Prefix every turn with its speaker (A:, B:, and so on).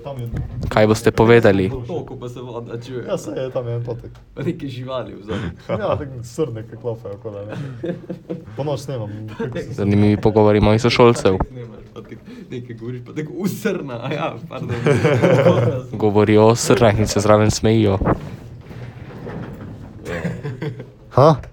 A: Tam je.
B: Kaj boste povedali?
C: Toliko pa se voda čuje.
A: Ja, se je tam je en potek.
C: Pa neke živali v zadnjem.
A: Ja, tak srne, ki klofajo, kot da ne. Po noč snemam. kako se-
B: Zanimivi pogovori mojih sošolcev.
C: Nekaj govoriš, pa tako usrna, a ja, pardon.
B: Govorijo o srnah in se zraven smejijo.
A: Ha?